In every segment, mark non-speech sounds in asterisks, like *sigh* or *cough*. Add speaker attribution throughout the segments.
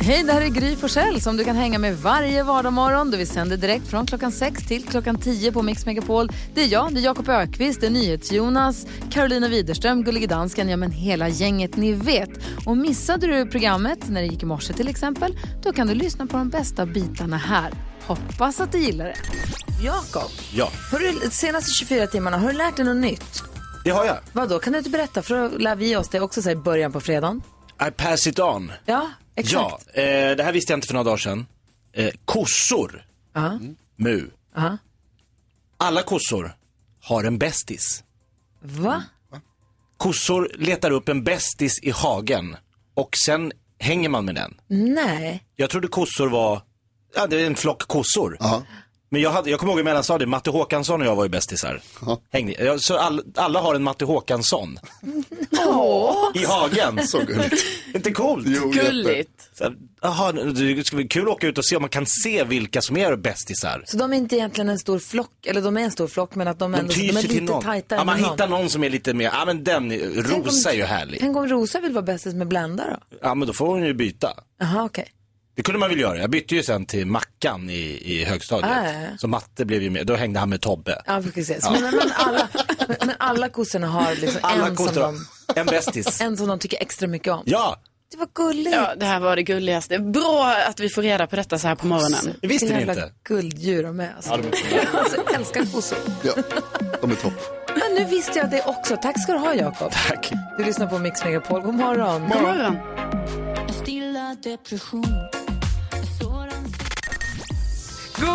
Speaker 1: Hej, det här är Gry Forssell som du kan hänga med varje vardagsmorgon. Vi sänder direkt från klockan 6 till klockan 10 på Mix Megapol. Det är jag, det är Jakob Ökvist, det är NyhetsJonas, Carolina Widerström, Gullige Dansken, ja men hela gänget ni vet. Och missade du programmet när det gick i morse till exempel, då kan du lyssna på de bästa bitarna här. Hoppas att du gillar det.
Speaker 2: Jakob,
Speaker 3: Ja,
Speaker 2: har du de senaste 24 timmarna, har du lärt dig något nytt?
Speaker 3: det har jag.
Speaker 2: Vad då? kan du inte berätta? För då lär vi oss det också så här, i början på fredagen.
Speaker 3: I pass it on.
Speaker 2: Ja, exakt.
Speaker 3: Ja, eh, det här visste jag inte för några dagar sedan. Eh, kossor,
Speaker 2: Ja.
Speaker 3: mu.
Speaker 2: Ja.
Speaker 3: Alla kossor har en bästis.
Speaker 2: Va?
Speaker 3: Kossor letar upp en bästis i hagen och sen hänger man med den.
Speaker 2: Nej.
Speaker 3: Jag trodde kossor var, ja det är en flock kossor. Men jag, hade, jag kommer ihåg i mellanstadiet, Matte Håkansson och jag var ju bästisar. Hängde, ja, så all, alla har en Matte Håkansson. I hagen.
Speaker 4: Så gulligt.
Speaker 3: Inte coolt?
Speaker 4: Jo, jätte.
Speaker 5: Gulligt.
Speaker 3: Så här, Jaha, det ska bli kul att åka ut och se om man kan se vilka som är bästisar.
Speaker 2: Så de är inte egentligen en stor flock, eller de är en stor flock men att de,
Speaker 3: De
Speaker 2: ändå de
Speaker 3: tyr
Speaker 2: är
Speaker 3: sig till
Speaker 2: lite
Speaker 3: någon.
Speaker 2: tajtare
Speaker 3: Ja, man
Speaker 2: än någon.
Speaker 3: hittar någon som är lite mer, ja men den, är-
Speaker 2: Tänk om-
Speaker 3: Rosa är ju härlig.
Speaker 2: Tänk om Rosa vill vara bästis med Blenda då?
Speaker 3: Ja men då får hon ju byta.
Speaker 2: Jaha, okej.
Speaker 3: Det kunde man väl göra. Jag bytte ju sen till Mackan i, i högstadiet.
Speaker 2: Ah, ja, ja.
Speaker 3: Så Matte blev ju med, då hängde han med Tobbe.
Speaker 2: Ja, vi får se. Så, men, men, alla, men- men alla kossorna har liksom
Speaker 3: Alla
Speaker 2: en, som
Speaker 3: kossor har
Speaker 2: de,
Speaker 3: en bästis.
Speaker 2: *laughs* en som de tycker extra mycket om.
Speaker 3: Ja,
Speaker 2: Det var gulligt.
Speaker 5: Ja, det här var det gulligaste. Bra att vi får reda på detta så här på morgonen.
Speaker 3: det visste ni
Speaker 2: Vilka
Speaker 3: inte.
Speaker 2: jävla gulddjur de är. Alltså. alltså, jag älskar kossor.
Speaker 4: Ja, de är topp.
Speaker 2: Men nu visste jag det också. Tack ska du ha, Jakob. Tack. Du lyssnar på Mix Megapol. God morgon.
Speaker 5: God morgon.
Speaker 2: God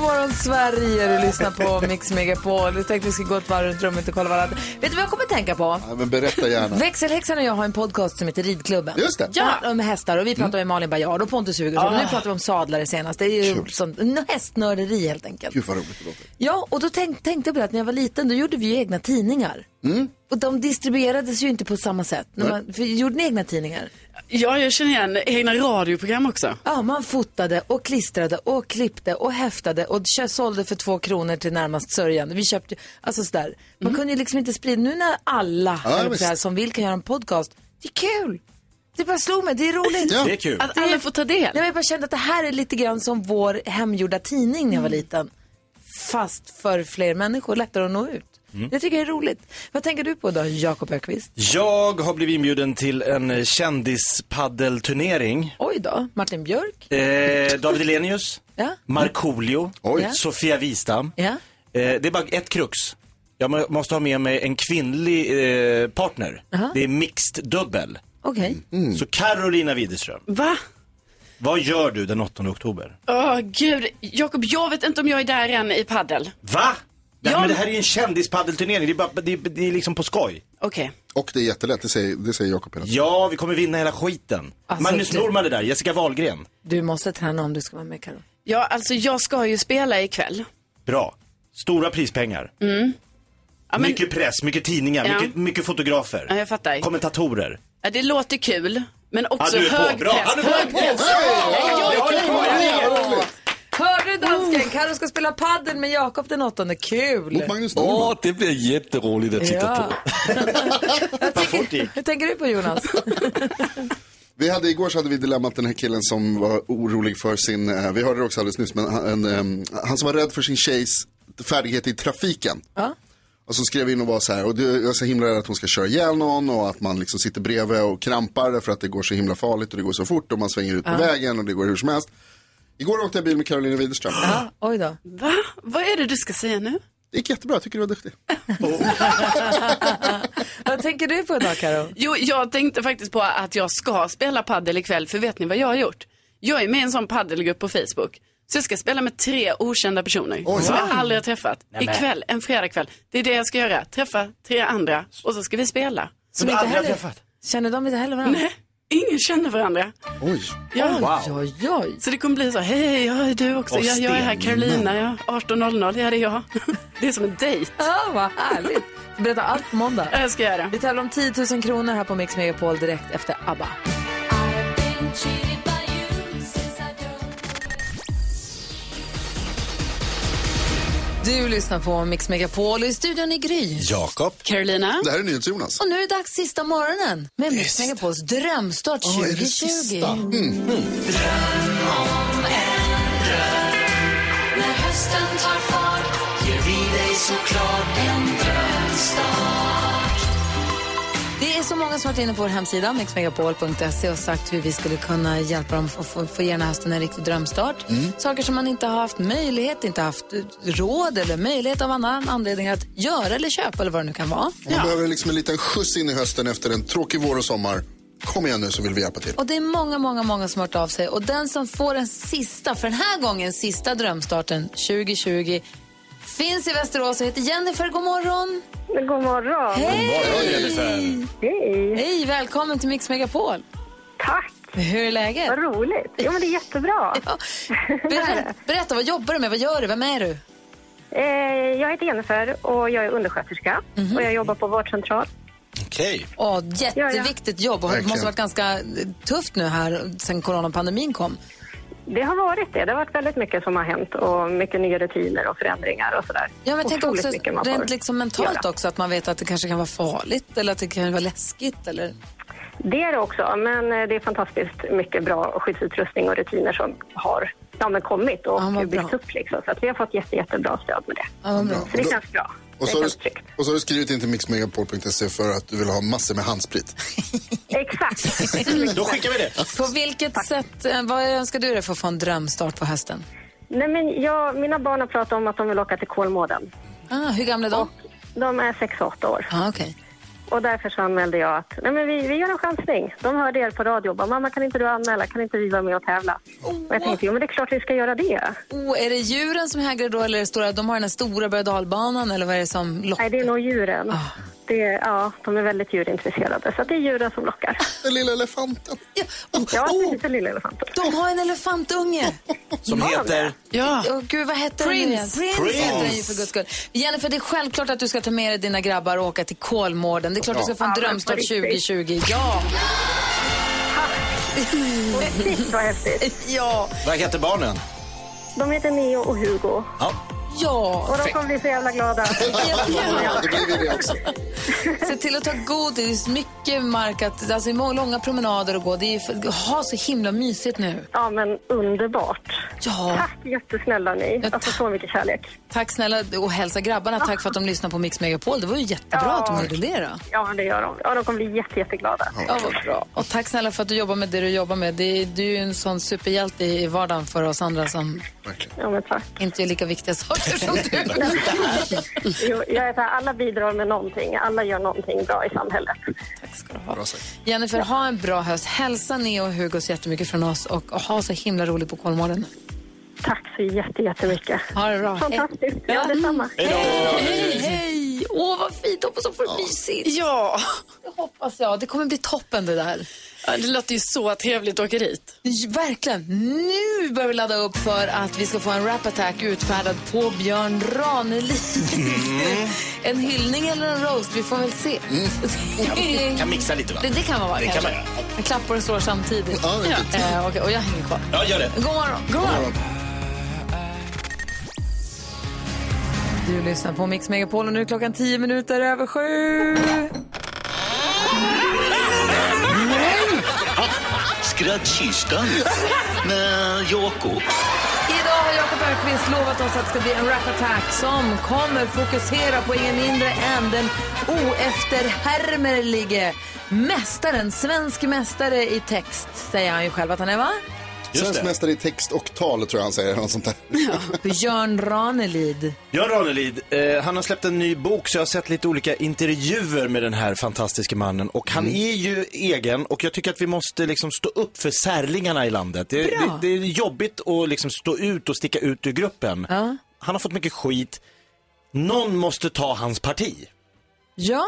Speaker 2: morgon, Sverige. Du lyssnar på Mix Megapol. Jag tänkte vi skulle gå ett varv runt rummet och kolla varandra. Vet du vad jag kommer att tänka på?
Speaker 4: Ja, men berätta gärna.
Speaker 2: Växelhäxan och jag har en podcast som heter Ridklubben.
Speaker 4: Just det.
Speaker 2: Ja. Om hästar och vi pratar med Malin Baryard och Pontus Hugosson. Nu pratar vi om sadlare senast. Det är ju
Speaker 4: Kul.
Speaker 2: sånt, n- hästnörderi helt enkelt.
Speaker 4: Gud vad roligt det låter.
Speaker 2: Ja, och då tänk, tänkte jag på det att när jag var liten då gjorde vi ju egna tidningar.
Speaker 4: Mm.
Speaker 2: Och de distribuerades ju inte på samma sätt. När man, för, gjorde ni egna tidningar?
Speaker 5: Ja, jag känner igen egna radioprogram också.
Speaker 2: Ja, man fotade och klistrade och klippte och häftade och kö- sålde för två kronor till närmast sörjande. Vi köpte, alltså sådär. Man kunde ju liksom inte sprida, nu när alla
Speaker 4: Mm. Ja,
Speaker 2: eller så här,
Speaker 4: visst.
Speaker 2: som vill kan göra en podcast, det är kul. Det bara slog mig, det är roligt.
Speaker 4: Ja.
Speaker 3: Det är kul.
Speaker 5: Att alla får ta del.
Speaker 2: Nej, men jag bara kände att det här är lite grann som vår hemgjorda tidning när jag var
Speaker 4: Mm.
Speaker 2: liten. Fast för fler människor, lättare att nå ut.
Speaker 4: Mm.
Speaker 2: Det tycker jag är roligt. Vad tänker du på då, Jakob Ökvist?
Speaker 3: Jag har blivit inbjuden till en eh, kändispaddelturnering.
Speaker 2: Oj då, Martin Björk?
Speaker 3: Eh, David Elenius,
Speaker 2: Ja.
Speaker 3: Markoolio,
Speaker 4: Oj.
Speaker 3: Sofia Wistam.
Speaker 2: Ja.
Speaker 3: Eh, det är bara ett krux. Jag må- måste ha med mig en kvinnlig eh, partner. Det är mixed dubbel.
Speaker 2: Okej.
Speaker 4: Mm.
Speaker 3: Så Carolina Widerström,
Speaker 5: Va?
Speaker 3: vad gör du den 8 oktober?
Speaker 5: Åh, gud. Jakob, jag vet inte om jag är där än i paddel.
Speaker 3: Va? Nej,
Speaker 5: Ja.
Speaker 3: men det här är ju en kändispaddelturnering, det är, bara, det, är, det är liksom på skoj.
Speaker 5: Okej.
Speaker 4: Och det är jättelätt, det säger, det säger Jakob hela tiden.
Speaker 3: Ja, vi kommer vinna hela skiten.
Speaker 2: Alltså,
Speaker 3: Magnus
Speaker 2: du-
Speaker 3: Norman är där, Jessica Wahlgren.
Speaker 2: Du måste träna om du ska vara med, Karo.
Speaker 5: Ja, alltså jag ska ju spela ikväll.
Speaker 3: Bra. Stora prispengar.
Speaker 5: Mm. Ja, men,
Speaker 3: Mycket press, mycket tidningar,
Speaker 5: Ja.
Speaker 3: mycket, mycket fotografer.
Speaker 5: ja, jag fattar.
Speaker 3: Kommentatorer.
Speaker 5: Ja, det låter kul, men
Speaker 3: Ja,
Speaker 5: också
Speaker 3: du är
Speaker 5: hög
Speaker 3: på. Bra.
Speaker 5: press.
Speaker 3: Ja, du är
Speaker 5: hög
Speaker 3: på.
Speaker 5: press.
Speaker 2: Hörde du dansken? Karo ska spela padel med Jakob den åttonde. Kul!
Speaker 4: Mot Magnus
Speaker 6: Åh,
Speaker 4: Norman.
Speaker 6: det blir jätteroligt att titta på.
Speaker 2: Jag
Speaker 3: fort det
Speaker 2: tänker,
Speaker 3: gick.
Speaker 2: *laughs* hur tänker du på Jonas?
Speaker 4: Vi hade igår så hade vi dilemmat den här killen som var orolig för sin, eh, vi hörde det också alldeles nyss, men han, en, ehm, han som var rädd för sin tjejs färdighet i trafiken. Och som skrev in och var så här, och du, jag är så himla rädd att hon ska köra ihjäl någon och att man liksom sitter bredvid och krampar därför att det går så himla farligt och det går så fort och man svänger ut på vägen och det går hur som helst. Igår åkte jag bil med Karolina Widerström.
Speaker 2: Ja, oj då.
Speaker 5: Va? Vad är det du ska säga nu?
Speaker 4: Det gick jättebra, jag tycker du var duktig.
Speaker 2: Vad tänker du på idag, Karo?
Speaker 5: Jo, jag tänkte faktiskt på att jag ska spela paddel ikväll, för vet ni vad jag har gjort? Jag är med i en sån paddelgrupp på Facebook. Så jag ska spela med tre okända personer som jag aldrig har träffat. Ikväll, en fredagkväll. Det är det jag ska göra. Träffa tre andra och så ska vi spela.
Speaker 3: Som
Speaker 2: inte
Speaker 3: aldrig har
Speaker 2: heller-
Speaker 3: träffat.
Speaker 2: Känner de inte heller varandra?
Speaker 5: Nej, ingen känner varandra.
Speaker 4: Oj,
Speaker 5: Ja.
Speaker 3: Oh, Wow.
Speaker 2: Oj, oj.
Speaker 5: Så det kommer bli så, hej, hej, ja, är du också?
Speaker 3: Och
Speaker 5: Ja, jag är här,
Speaker 3: Sten.
Speaker 5: Carolina, ja. 18.00, ja det är jag. *laughs* Det är som en dejt.
Speaker 2: Ja, vad härligt. Berätta allt på måndag.
Speaker 5: Ja, Jag ska göra.
Speaker 2: Vi tävlar om 10 000 kronor här på Mix Megapol direkt efter ABBA. Du lyssnar på Mix Megapol och i studion i Gry.
Speaker 4: Jakob.
Speaker 5: Carolina.
Speaker 4: Det här är NyhetsJonas.
Speaker 2: Och nu är det dags sista morgonen med Mix Megapols drömstart Mm. 2020.
Speaker 7: När hösten tar fart ger vi dig såklart en drömstart.
Speaker 2: Det är så många som har varit inne på vår hemsida mixmegapol.se och sagt hur vi skulle kunna hjälpa dem att få, få ge den här hösten en riktig drömstart. Saker som man inte har haft möjlighet, inte haft eh, råd eller möjlighet av annan anledning att göra eller köpa eller vad det nu kan vara.
Speaker 4: Man behöver liksom en liten skjuts in i hösten efter en tråkig vår och sommar. Kom igen nu så vill vi hjälpa till.
Speaker 2: Och det är många, många, många som har hört av sig. Och den som får den sista, för den här gången, sista drömstarten 2020 finns i Västerås och heter Jennifer. God morgon!
Speaker 8: God morgon.
Speaker 3: Jennifer.
Speaker 8: Hej.
Speaker 2: Hej, välkommen till Mix Megapol!
Speaker 8: Tack.
Speaker 2: Hur är läget?
Speaker 8: Vad roligt. Jo, men det är jättebra.
Speaker 2: Ja. Berätta, berätta, vad jobbar du med? Vad gör du? Vem är du?
Speaker 8: Eh, jag heter Jennifer och jag är undersköterska
Speaker 2: Mhm.
Speaker 8: och jag jobbar på vårdcentral.
Speaker 3: Okej.
Speaker 2: Åh, jätteviktigt jobb och det måste
Speaker 4: Verkligen.
Speaker 2: ha varit ganska eh, tufft nu här sen coronapandemin kom.
Speaker 8: Det har varit det. Det har varit väldigt mycket som har hänt och mycket nya rutiner och förändringar och sådär.
Speaker 2: Ja, men jag tänker
Speaker 8: Otroligt
Speaker 2: också
Speaker 8: mycket man får
Speaker 2: rent liksom mentalt
Speaker 8: göra.
Speaker 2: också att man vet att det kanske kan vara farligt eller att det kan vara läskigt eller...
Speaker 8: Det är det också, men eh, det är fantastiskt mycket bra skyddsutrustning och rutiner som har ja, men kommit och
Speaker 2: Ja, vad
Speaker 8: byggts
Speaker 2: bra.
Speaker 8: upp. Liksom. Så att vi har fått jätte, jättebra stöd med det.
Speaker 2: Ja, vad bra.
Speaker 8: Så det känns bra.
Speaker 4: Och
Speaker 8: det
Speaker 4: så, har
Speaker 8: känns
Speaker 4: du,
Speaker 8: tryggt.
Speaker 4: och så har du skrivit in till mixmegapol.se för att du vill ha massor med handsprit. *laughs*
Speaker 8: Exakt.
Speaker 2: *laughs*
Speaker 8: *laughs*
Speaker 3: Då skickar vi det.
Speaker 2: På vilket sätt, eh, vad önskar du dig för att få en drömstart på hösten?
Speaker 8: Nej, men jag, mina barn har pratat om att de vill åka till Kolmården.
Speaker 2: Ah, hur gamla är de?
Speaker 8: De är 6-8 år.
Speaker 2: Ah, okej.
Speaker 8: Och därför så anmälde jag att nej men vi, vi gör en chansning. De hörde er på radio och bara, mamma kan inte du anmäla, kan inte vi vara med och tävla? Och jag tänkte, jo men det är klart vi ska göra det.
Speaker 2: oh, är det djuren som hägrar då eller är det stora, de har den här stora berg och dalbanan, eller vad är det som
Speaker 8: Nej,
Speaker 2: lockar?
Speaker 8: det är nog djuren.
Speaker 2: Ah.
Speaker 8: Det, ja, de är väldigt djurintresserade, så att det är djuren som lockar.
Speaker 4: Den lilla elefanten.
Speaker 2: Ja, oh,
Speaker 8: Ja,
Speaker 2: oh,
Speaker 8: precis, den lilla elefanten.
Speaker 2: de har en elefantunge!
Speaker 8: *laughs*
Speaker 3: Som heter...
Speaker 5: Ja.
Speaker 2: Åh, gud, vad hette den nu igen? Prince.
Speaker 3: Prince.
Speaker 2: heter den ju för guds skull. Jennifer, det är självklart att du ska ta med dig dina grabbar och åka till Kolmården. Det är klart du ska få en
Speaker 8: Ja, men på
Speaker 2: drömstart
Speaker 8: riktigt.
Speaker 2: 2020. Ja!
Speaker 8: Shit, vad häftigt.
Speaker 2: Ja!
Speaker 3: Vad heter barnen?
Speaker 8: De heter Neo och Hugo.
Speaker 3: Ja.
Speaker 2: Ja!
Speaker 8: Och de kommer bli så jävla glada.
Speaker 4: Ja, det blir vi det också.
Speaker 2: Se till att ta godis, mycket mark, att, alltså må- långa promenader och gå. Det är för, ha så himla mysigt nu.
Speaker 8: Ja, men underbart.
Speaker 2: Ja!
Speaker 8: Tack jättesnälla ni. Alltså så mycket kärlek.
Speaker 2: Tack snälla och hälsa grabbarna tack för att de lyssnar på Mix Megapol. Det var ju jättebra
Speaker 8: Ja.
Speaker 2: att de gjorde det då.
Speaker 8: Ja, men det gör de. Ja, de kommer bli jätte, jätteglada.
Speaker 2: Ja, vad bra. Och tack snälla för att du jobbar med det du jobbar med. Det är, du är ju en sån superhjälte i vardagen för oss andra som
Speaker 4: Verkligen.
Speaker 8: Ja, men tack.
Speaker 2: inte gör lika viktiga *laughs* saker som du.
Speaker 8: Jo, jag är så här, alla bidrar med någonting. Alla gör någonting bra i samhället.
Speaker 2: Tack ska du ha.
Speaker 4: Bra sagt.
Speaker 2: Jennifer, ha en bra höst. Hälsa Neo och Hugo så jättemycket från oss och ha så himla roligt på Kolmården.
Speaker 8: Tack så jätte, jättemycket.
Speaker 2: Ha det bra.
Speaker 8: Fantastiskt. Ja,
Speaker 2: Ja.
Speaker 8: detsamma.
Speaker 2: Hej, hej! Åh, vad fint. Hoppas de får det mysigt.
Speaker 5: Ja.
Speaker 2: Det hoppas jag. Det kommer bli toppen det där.
Speaker 5: ja, det låter ju så trevligt att åka dit.
Speaker 2: J- Verkligen. Nu börjar vi ladda upp för att vi ska få en rap-attack utfärdad på Björn Ranelid.
Speaker 3: Mm.
Speaker 2: en hyllning eller en roast, vi får väl se.
Speaker 3: Kan mixa lite va?
Speaker 2: det, det kan man vara
Speaker 3: Det kan
Speaker 2: kanske.
Speaker 3: man göra.
Speaker 2: En klappar och slår samtidigt.
Speaker 4: Ja, det är
Speaker 2: Eh, okej, och jag hänger kvar.
Speaker 3: Ja, gör det.
Speaker 2: God morgon. Du lyssnar på Mix Megapol och nu är klockan 10 minuter över sju.
Speaker 9: Skrattkistan med Jakob.
Speaker 2: Idag har Jakob Öqvist lovat oss att det ska bli en rap-attack som kommer fokusera på ingen mindre än den oefterhärmelige mästaren, svensk mästare i text, säger han ju själv att han är, va?
Speaker 4: Svensk mästare i text och tal tror jag han säger. eller Något sånt där.
Speaker 2: Björn Ranelid.
Speaker 3: Björn Ranelid, eh, han har släppt en ny bok så jag har sett lite olika intervjuer med den här fantastiska mannen och han är ju egen och jag tycker att vi måste liksom stå upp för särlingarna i landet. Det, det, det är jobbigt att liksom stå ut och sticka ut ur gruppen. Han har fått mycket skit. Någon måste ta hans parti.
Speaker 2: Ja.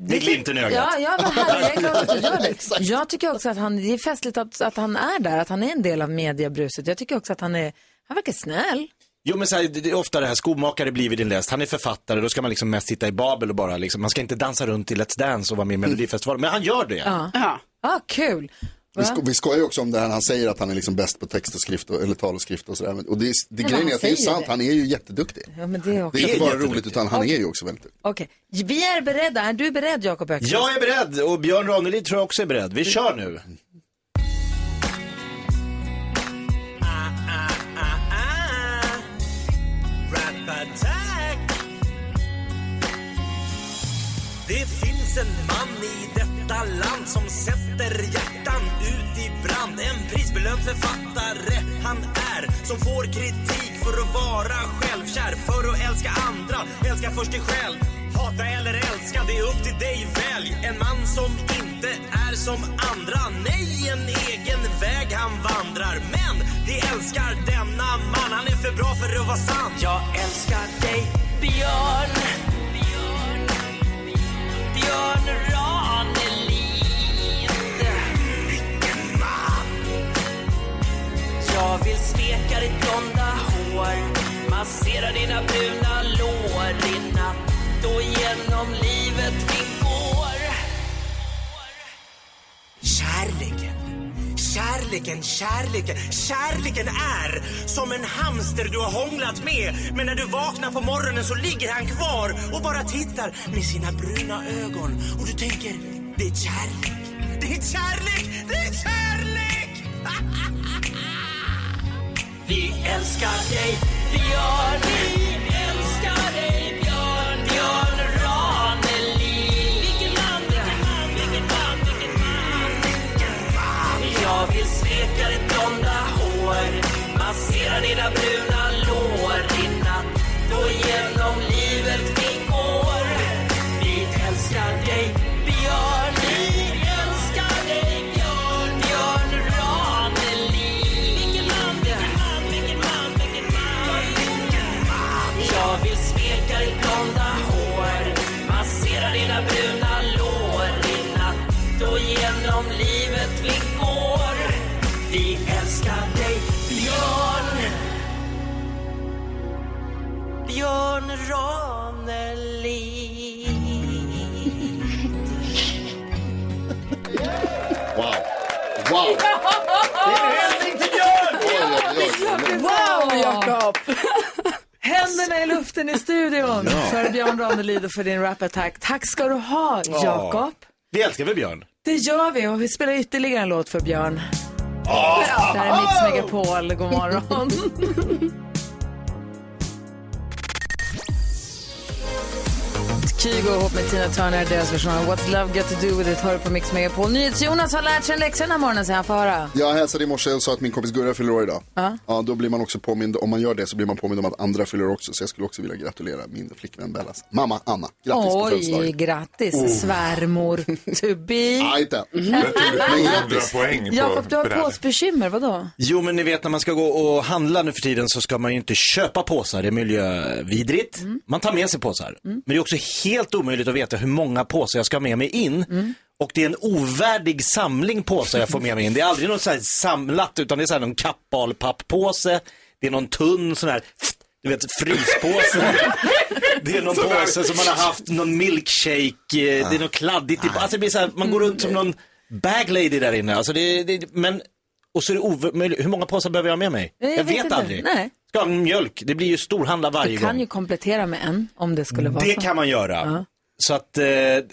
Speaker 3: Med glimten i ögat.
Speaker 2: Ja, ja men herre, jag är glad att du gör
Speaker 3: *laughs*
Speaker 2: det. Jag tycker också att han, det är festligt att, att han är där, att han är en del av mediebruset. Jag tycker också att han är, han verkar snäll.
Speaker 3: Jo men så här, det det är ofta det här, skomakare blir vid din läst, han är författare, då ska man liksom mest sitta i Babel och bara liksom, man ska inte dansa runt i Let's Dance och vara med i Melodifestivalen, men han gör det.
Speaker 5: Ja.
Speaker 2: Ja, ah, kul.
Speaker 4: Vi, sko vi skojar ju också om det här, han säger att han är liksom bäst på text och skrift, och, eller tal och skrift och sådär. Men- Och det, är- det
Speaker 10: Men
Speaker 4: grejen
Speaker 10: han
Speaker 4: är att det är ju
Speaker 10: säger
Speaker 4: sant,
Speaker 10: det.
Speaker 4: han är ju jätteduktig.
Speaker 10: Ja, men det är också.
Speaker 4: Det är inte bara roligt, utan han är ju också väldigt duktig.
Speaker 10: Okej, vi är beredda. Är du beredd, Jakob Öqvist?
Speaker 3: Jag är beredd och Björn Ranelid tror jag också är beredd. Vi kör nu.
Speaker 7: Ah, Rap-attack Det finns en man i detta land som sätter hjärtan ut i brand En prisbelönt författare han är som får kritik för att vara självkär För att älska andra, älska först dig själv Hata eller älska, det är upp till dig välj En man som inte är som andra Nej, en egen väg han vandrar Men vi älskar denna man Han är för bra för att vara sann Jag älskar dig Björn Björn Ranelid Vilken man Jag vill smeka ditt blonda hår Massera dina bruna lår i natt och genom livet vi går Kärleken Kärleken, kärleken, kärleken är som en hamster du har hånglat med. Men när du vaknar på morgonen så ligger han kvar och bara tittar med sina bruna ögon. Och du tänker, det är kärlek, det är kärlek, det är kärlek! *laughs* Vi älskar dig, Björn. Vi älskar dig, Björn. Björn Ranelid. Vilken man, vilken man, vilken man, vilken man. Vilken man. Jag vill smeka ditt blonda hår, massera dina bruna lår i natt och genom livet vi går. Vi älskar dig, Björn. Vi älskar dig, Björn. Björn Ranelid. Vilken man, vilken man, vilken man, vilken man. Vilken man. Jag vill smeka ditt blonda hår, massera dina bruna lår i natt och genom livet vi går. Vi älskar dig, Björn. Björn Ranelid.
Speaker 4: Wow. Wow.
Speaker 7: Det är en hälsning till Björn!
Speaker 10: Wow, Jakob! Händerna i luften i studion
Speaker 3: Ja.
Speaker 10: för Björn Ranelid och för din rap-attack. Tack ska du ha,
Speaker 3: Ja.
Speaker 10: Jakob.
Speaker 3: Vi älskar väl Björn?
Speaker 10: Det gör vi och vi spelar ytterligare en låt för Björn. Det här är Mix Megapol. God morgon. Kygo ihop med Tina Turner, deras version av What's Love Got To Do With It hör du på Mix Megapol. NyhetsJonas har lärt sig en läxa den här morgonen så han får höra.
Speaker 4: Jag hälsade i morse och sa att min kompis Gurra fyller år idag.
Speaker 10: Ja.
Speaker 4: Ja, då blir man också påmind, om man gör det så blir man påmind om att andra fyller år också. Så jag skulle också vilja gratulera min flickvän Bellas mamma Anna. Grattis på
Speaker 10: Oj,
Speaker 4: födelsedagen.
Speaker 10: grattis
Speaker 4: Oh.
Speaker 10: svärmor to be.
Speaker 4: Nej, inte.
Speaker 10: Mm. *laughs* Jakob, du har påsbekymmer, vadå?
Speaker 3: Jo, men ni vet när man ska gå och handla nu för tiden så ska man ju inte köpa påsar, det är miljövidrigt.
Speaker 7: Mm.
Speaker 3: Man tar med sig påsar. Men det är också helt omöjligt att veta hur många påsar jag ska ha med mig in.
Speaker 7: Mm.
Speaker 3: Och det är en ovärdig samling påsar jag får med mig in. Det är aldrig något så här samlat, utan det är så här någon kappalpapppåse, det är någon tunn sån här, du vet, fryspåse. Det är någon
Speaker 7: Sån här-
Speaker 3: påse som man har haft, någon milkshake, eh, det är något kladdigt.
Speaker 7: Ah.
Speaker 3: Typ. Alltså det blir så här, man går runt
Speaker 7: Mm.
Speaker 3: som någon bag lady där inne. Alltså det, det, men, och så är det omöjligt, hur många påsar behöver jag ha med mig?
Speaker 10: Nej, jag
Speaker 3: jag
Speaker 10: vet
Speaker 3: vet
Speaker 10: inte.
Speaker 3: aldrig.
Speaker 10: Nej.
Speaker 3: Ska jag ha mjölk? Det blir ju storhandla varje
Speaker 10: Du kan
Speaker 3: gång.
Speaker 10: ju komplettera med en om det skulle vara
Speaker 3: Det
Speaker 10: så.
Speaker 3: kan man göra. Så att eh,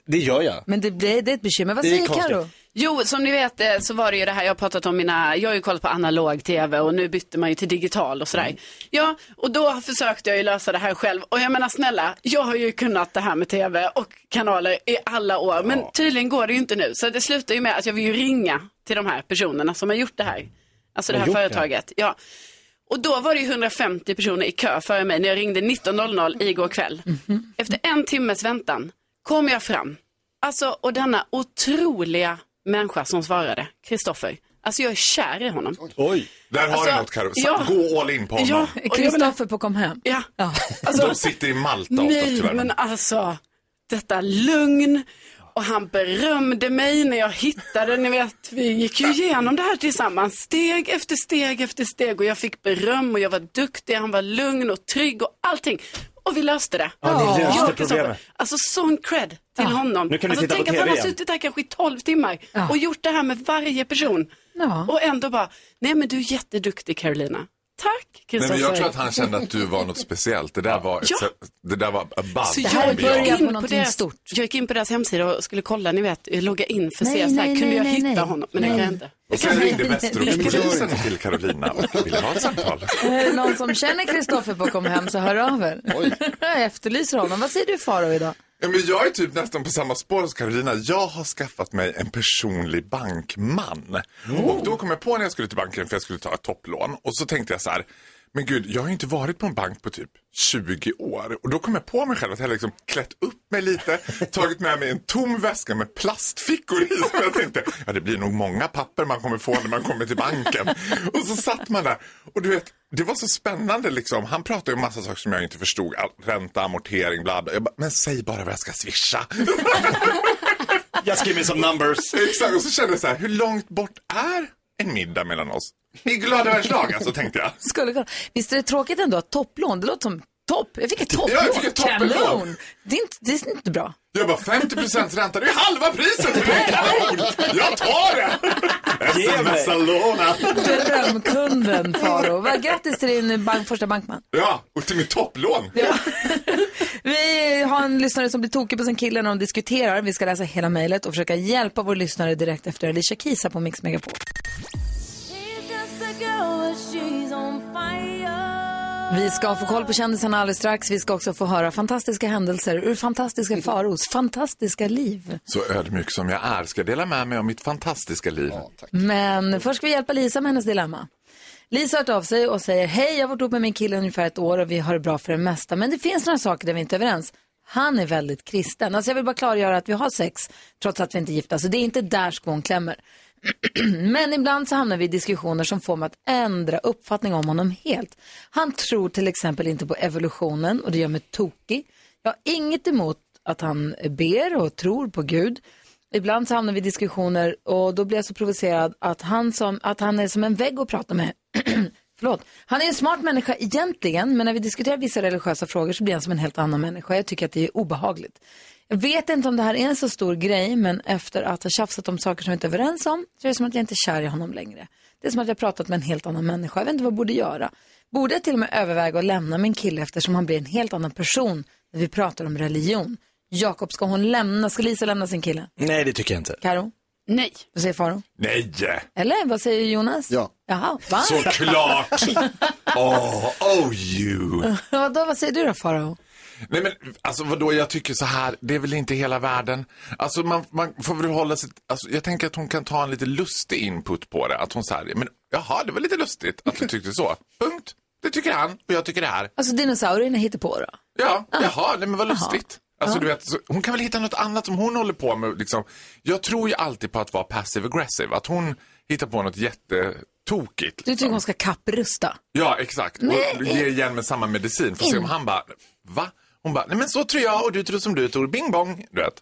Speaker 3: det gör jag.
Speaker 10: Men det, blir, det är ett bekymmer. Vad
Speaker 3: Det är
Speaker 10: säger
Speaker 3: konstigt.
Speaker 10: Karo?
Speaker 5: Jo, som ni vet eh, så var det ju det här jag har pratat om mina, jag har ju kollat på analog tv och nu bytte man ju till digital och sådär.
Speaker 11: Mm.
Speaker 5: Ja, och då försökte jag ju lösa det här själv och jag menar snälla, jag har ju kunnat det här med tv och kanaler i alla år men tydligen går det ju inte nu så det slutar ju med att jag vill ju ringa till de här personerna som har gjort det här. Alltså det
Speaker 11: Har
Speaker 5: här
Speaker 11: gjort det?
Speaker 5: företaget. Ja. Och då var det ju 150 personer i kö före mig när jag ringde 19.00
Speaker 11: Mm.
Speaker 5: igår kväll. Efter en timmes väntan kom jag fram. Alltså, och denna otroliga människa som svarade, Kristoffer. Alltså jag är kär i honom.
Speaker 12: Oj. Där har
Speaker 5: Alltså,
Speaker 12: du något Carro.
Speaker 5: ja.
Speaker 12: Gå all in på honom.
Speaker 5: Ja, och jag menar,
Speaker 10: Kristoffer på kom hem.
Speaker 5: Ja. alltså,
Speaker 12: De sitter i Malta ofta
Speaker 5: nej,
Speaker 12: tyvärr.
Speaker 5: men alltså, detta lugn. Och han berömde mig när jag hittade, ni vet, vi gick ju igenom det här tillsammans, steg efter steg efter steg och jag fick beröm och jag var duktig, han var lugn och trygg och allting. och vi löste det.
Speaker 3: Ja, ni löste
Speaker 5: Jag och Kristoffer.
Speaker 3: problemet.
Speaker 5: Alltså sån cred till
Speaker 3: Ja.
Speaker 5: honom.
Speaker 3: Nu kan du
Speaker 5: alltså,
Speaker 3: titta på
Speaker 5: tänk att
Speaker 3: TV
Speaker 5: han har
Speaker 3: igen.
Speaker 5: suttit där kanske i 12 timmar
Speaker 2: Ja.
Speaker 5: och gjort det här med varje person.
Speaker 2: Ja.
Speaker 5: Och ändå bara, nej men du är jätteduktig Carolina. Tack
Speaker 12: Nej,
Speaker 5: Kristoffer.
Speaker 12: men jag tror att han kände att du var något speciellt. Det där var,
Speaker 5: alltså, Ja.
Speaker 12: det där var above.
Speaker 5: Så
Speaker 12: and
Speaker 5: jag,
Speaker 12: beyond.
Speaker 5: gick in på
Speaker 2: någonting
Speaker 5: deras, stort. jag gick in på deras hemsida och skulle kolla, ni vet, logga in för att
Speaker 2: Nej,
Speaker 5: se så här,
Speaker 2: nej,
Speaker 5: kunde
Speaker 2: nej,
Speaker 5: jag
Speaker 2: nej,
Speaker 5: hitta
Speaker 2: nej.
Speaker 5: honom? Men det
Speaker 2: Nej.
Speaker 5: kan jag inte.
Speaker 12: Och sen ringde Västeråspolisen till Carolina och ville ha ett samtal.
Speaker 2: Är det någon som känner Kristoffer på Kom hem så hör av er. Jag efterlyser honom. Vad säger du Faro idag?
Speaker 12: Ja, men jag är typ nästan på samma spår som Carolina. Jag har skaffat mig en personlig bankman. Och då kom jag på när jag skulle till banken för jag skulle ta ett topplån. Och så tänkte jag så här, men gud, jag har ju inte varit på en bank på typ 20 år. Och då kom jag på mig själv att jag liksom klätt upp mig lite, tagit med mig en tom väska med plastfickor i. Som jag tänkte, ja det blir nog många papper man kommer få när man kommer till banken. Och så satt man där och du vet, det var så spännande liksom. Han pratade ju om massa saker som jag inte förstod. All- Ränta, amortering, bla bla. Jag bara, men säg bara vad jag ska swisha. *laughs*
Speaker 3: Just give me some
Speaker 5: *laughs*
Speaker 3: numbers.
Speaker 12: Exakt, och så kände jag så här, hur långt bort är en middag mellan oss? I glada världsdagar, så tänkte jag.
Speaker 2: Skulle kunna. Visst är det tråkigt ändå att topplån, det låter som topp. Jag fick ett topplån.
Speaker 12: Ja, jag fick ett topplån.
Speaker 2: Kanon. Det är inte, det är inte bra.
Speaker 12: Jag bara 50 ränta, det är halva priset! Det är kanon! Jag tar det!
Speaker 3: Ge mig.
Speaker 12: Smsa låna!
Speaker 2: Drömkunden Faro. Va, Grattis till din bank, första bankman.
Speaker 12: Ja, och till mitt topplån.
Speaker 2: Vi har en lyssnare som blir tokig på sin kille när de diskuterar. Vi ska läsa hela mejlet och försöka hjälpa vår lyssnare direkt efter Alicia Keys här på Mix Megapol. Vi ska få koll på kändisarna alldeles strax. Vi ska också få höra fantastiska händelser ur fantastiska Faros fantastiska liv.
Speaker 12: Så ödmjuk som jag är ska jag dela med mig av mitt fantastiska liv.
Speaker 2: Men först ska vi hjälpa Lisa med hennes dilemma. Lisa har hört av sig och säger hej, jag har varit ihop med min kille ungefär ett år och vi har det bra för det mesta. Men det finns några saker där vi inte är överens. Han är väldigt kristen. Alltså jag vill bara klargöra att vi har sex trots att vi inte är gifta. Så det är inte där skon klämmer. *clears throat* Men ibland så hamnar vi i diskussioner som får mig att ändra uppfattning om honom helt. Han tror till exempel inte på evolutionen och det gör mig tokig. Jag har inget emot att han ber och tror på Gud. Ibland så hamnar vi i diskussioner och då blir jag så provocerad att han, som, att han är som en vägg att prata med. *clears throat* Förlåt. Han är en smart människa egentligen, men när vi diskuterar vissa religiösa frågor så blir han som en helt annan människa. Jag tycker att det är obehagligt. Jag vet inte om det här är en så stor grej, men efter att ha tjafsat om saker som jag inte är överens om så är det som att jag inte är kär i honom längre. Det är som att jag pratat med en helt annan människa. Jag vet inte vad jag borde göra. Borde jag till och med överväga att lämna min kille eftersom han blir en helt annan person när vi pratar om religion? Jakob, ska hon lämna? Ska Lisa lämna sin kille?
Speaker 3: Nej, det tycker jag inte.
Speaker 2: Karo?
Speaker 5: Nej.
Speaker 2: Vad säger Faro?
Speaker 12: Nej!
Speaker 2: Eller vad säger Jonas?
Speaker 12: Ja.
Speaker 2: Jaha, va?
Speaker 12: Såklart! Oh, oh you!
Speaker 2: Vadå, vad säger du då Faro?
Speaker 12: Nej men alltså vadå, jag tycker så här, det är väl inte hela världen. Alltså man, man får väl hålla sig, alltså, jag tänker att hon kan ta en lite lustig input på det. Att hon så här, men jaha det var lite lustigt att du tyckte så. Punkt. Det tycker han och jag tycker det här.
Speaker 2: Alltså dinosaurierna hittar på då?
Speaker 12: Ja,
Speaker 2: Ah.
Speaker 12: jaha, nej men vad lustigt. Alltså du vet, så, hon kan väl hitta något annat som hon håller på med liksom. Jag tror ju alltid på att vara passive aggressive, att hon hittar på något jättetokigt. liksom.
Speaker 2: Du tycker hon ska kapprusta?
Speaker 12: Ja, exakt. Och
Speaker 2: Nej.
Speaker 12: ge igen med samma medicin. Får se om
Speaker 2: In.
Speaker 12: han bara, va? Hon bara, nej men så tror jag och du tror som du tror. Bing bong, du vet.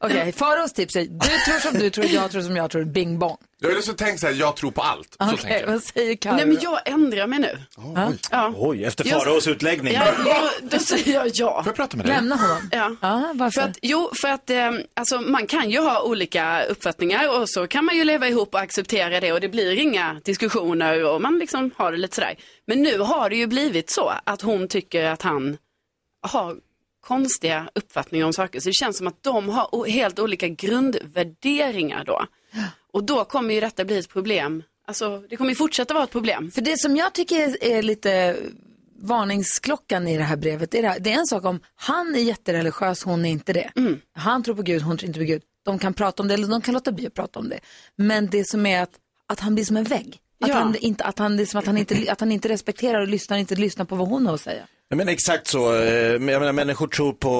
Speaker 2: Okej, Faros tips är du tror som du tror, jag tror som jag tror, bing bong.
Speaker 12: Jag vill så tänka så här, jag tror på allt. Så
Speaker 2: Okej,
Speaker 12: tänker jag.
Speaker 2: vad säger Carro?
Speaker 5: Nej men jag ändrar mig nu.
Speaker 12: oj.
Speaker 5: Ja.
Speaker 3: Oj, efter
Speaker 5: Jag-
Speaker 3: Faraos utläggning.
Speaker 5: Ja, ja, då säger jag ja.
Speaker 12: Får jag prata med
Speaker 3: dig?
Speaker 2: Lämna honom?
Speaker 5: Ja.
Speaker 2: varför?
Speaker 5: För att, jo, för att eh, alltså, man kan ju ha olika uppfattningar och så kan man ju leva ihop och acceptera det och det blir inga diskussioner och man liksom har det lite sådär. Men nu har det ju blivit så att hon tycker att han har konstiga uppfattningar om saker. Så det känns som att de har o- helt olika grundvärderingar då. Och då kommer ju detta bli ett problem. Alltså, det kommer ju fortsätta vara ett problem.
Speaker 2: För det som jag tycker är, är lite varningsklockan i det här brevet, det är, det, här, det är en sak om han är jättereligiös, hon är inte det. Han tror på Gud, hon tror inte på Gud. De kan prata om det eller de kan låta bli att prata om det. Men det som är att, att han blir som en vägg. Att,
Speaker 5: Ja.
Speaker 2: han, inte, att, han, det är som att, han inte, att han inte respekterar och lyssnar, inte lyssnar på vad hon har att säga.
Speaker 3: Ja, men exakt så. Eh, men Jag menar, människor tror på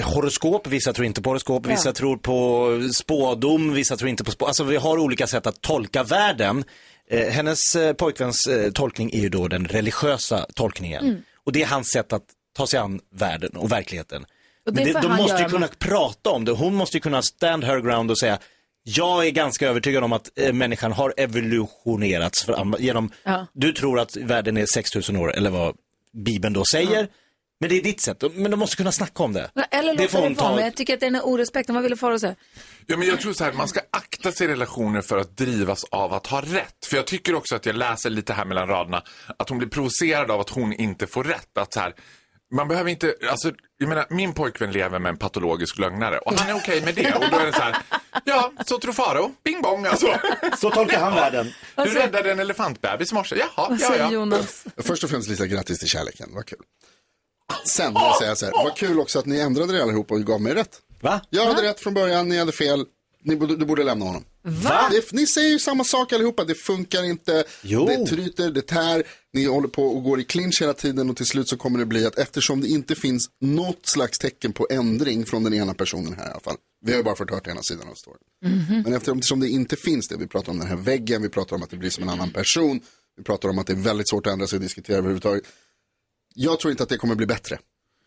Speaker 3: eh, horoskop, vissa tror inte på horoskop,
Speaker 2: Ja.
Speaker 3: vissa tror på spådom, vissa tror inte på spådom. Alltså vi har olika sätt att tolka världen. Eh, hennes eh, pojkväns eh, tolkning är ju då den religiösa tolkningen.
Speaker 2: Mm.
Speaker 3: Och det är hans sätt att ta sig an världen och verkligheten.
Speaker 2: Och det
Speaker 3: Men
Speaker 2: får
Speaker 3: de
Speaker 2: han
Speaker 3: måste ju
Speaker 2: göra
Speaker 3: kunna
Speaker 2: med-
Speaker 3: prata om det. Hon måste ju kunna stand her ground och säga jag är ganska övertygad om att eh, människan har evolutionerats fram genom
Speaker 2: Ja.
Speaker 3: du tror att världen är 6000 år, eller vad Bibeln då säger. Men det är ditt sätt. Men de måste kunna snacka om det.
Speaker 2: Eller
Speaker 3: det
Speaker 2: låta det vara, men jag tycker att det är en orespekten. Vad ville Farao säga?
Speaker 12: Ja, men jag tror så här, man ska akta sig i relationer för att drivas av att ha rätt. För jag tycker också att jag läser lite här mellan raderna att hon blir provocerad av att hon inte får rätt. Att så här, man behöver inte, alltså, jag menar, min pojkvän lever med en patologisk lögnare och han är okej med det. Och då är det så här, ja, så tror Faro, bing bong alltså.
Speaker 3: *laughs* Så tolkar han världen.
Speaker 12: Du räddade en elefantbebis i morse, jaha,
Speaker 4: Vad
Speaker 12: ja,
Speaker 4: säger
Speaker 12: ja.
Speaker 4: Jonas? Först och främst Lisa, grattis till kärleken, vad kul. Sen vill jag säga så här, vad kul också att ni ändrade er allihop och gav mig rätt.
Speaker 3: Va?
Speaker 4: Jag hade rätt från början, ni hade fel, ni borde, du borde lämna honom.
Speaker 13: Va?
Speaker 4: Det, ni säger ju samma sak allihopa, det funkar inte, det tryter, det tär, ni håller på och går i clinch hela tiden och till slut så kommer det bli att eftersom det inte finns något slags tecken på ändring från den ena personen här i alla fall, vi har ju bara fått hört ena sidan av storyn. Men eftersom det inte finns det, vi pratar om den här väggen, vi pratar om att det blir som en annan person, vi pratar om att det är väldigt svårt att ändra sig och diskutera överhuvudtaget. Jag tror inte att det kommer bli bättre.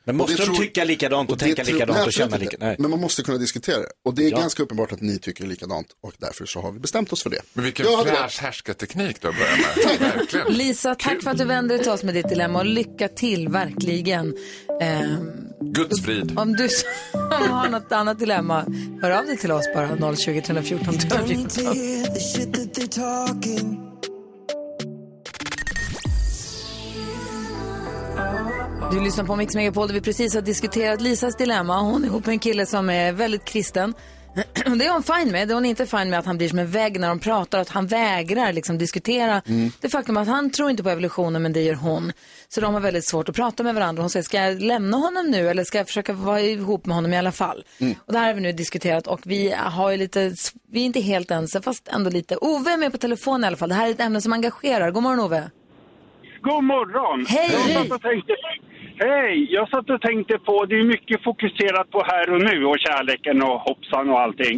Speaker 3: Men måste
Speaker 4: Och det
Speaker 3: de tycka likadant och
Speaker 4: det
Speaker 3: tänka
Speaker 4: tror-
Speaker 3: likadant
Speaker 4: Nej,
Speaker 3: och känna
Speaker 4: absolut
Speaker 3: lika-
Speaker 4: inte.
Speaker 3: nej.
Speaker 4: Men man måste kunna diskutera det. Och det är
Speaker 12: Ja.
Speaker 4: ganska uppenbart att ni tycker likadant och därför så har vi bestämt oss för det.
Speaker 12: Men vilken
Speaker 4: Jag hade
Speaker 12: fräsch härskarteknik du har börjat med. Verkligen.
Speaker 2: Lisa, tack för att du vände dig till oss med ditt dilemma och lycka till verkligen. Ehm,
Speaker 12: Guds frid.
Speaker 2: om du *laughs* som har något annat dilemma, hör av dig till oss bara 020 314 314. Du lyssnar på Mix Megapol där vi precis har diskuterat Lisas dilemma. Hon är ihop med en kille som är väldigt kristen. *clears throat* Det är hon fine med. Det hon inte är fine med är att han blir som en vägg när de pratar och att han vägrar liksom diskutera
Speaker 14: Mm.
Speaker 2: det faktum att han tror inte på evolutionen men det gör hon. Så de har väldigt svårt att prata med varandra. Hon säger, ska jag lämna honom nu eller ska jag försöka vara ihop med honom i alla fall? Och det här har vi nu diskuterat och vi har ju lite, vi är inte helt ense fast ändå lite. Ove är med på telefon i alla fall. Det här är ett ämne som engagerar. God morgon Ove.
Speaker 11: God morgon!
Speaker 2: Hej!
Speaker 11: Jag satt och tänkte, hej! Jag satt och tänkte på, det är mycket fokuserat på här och nu och kärleken och hoppsan och allting.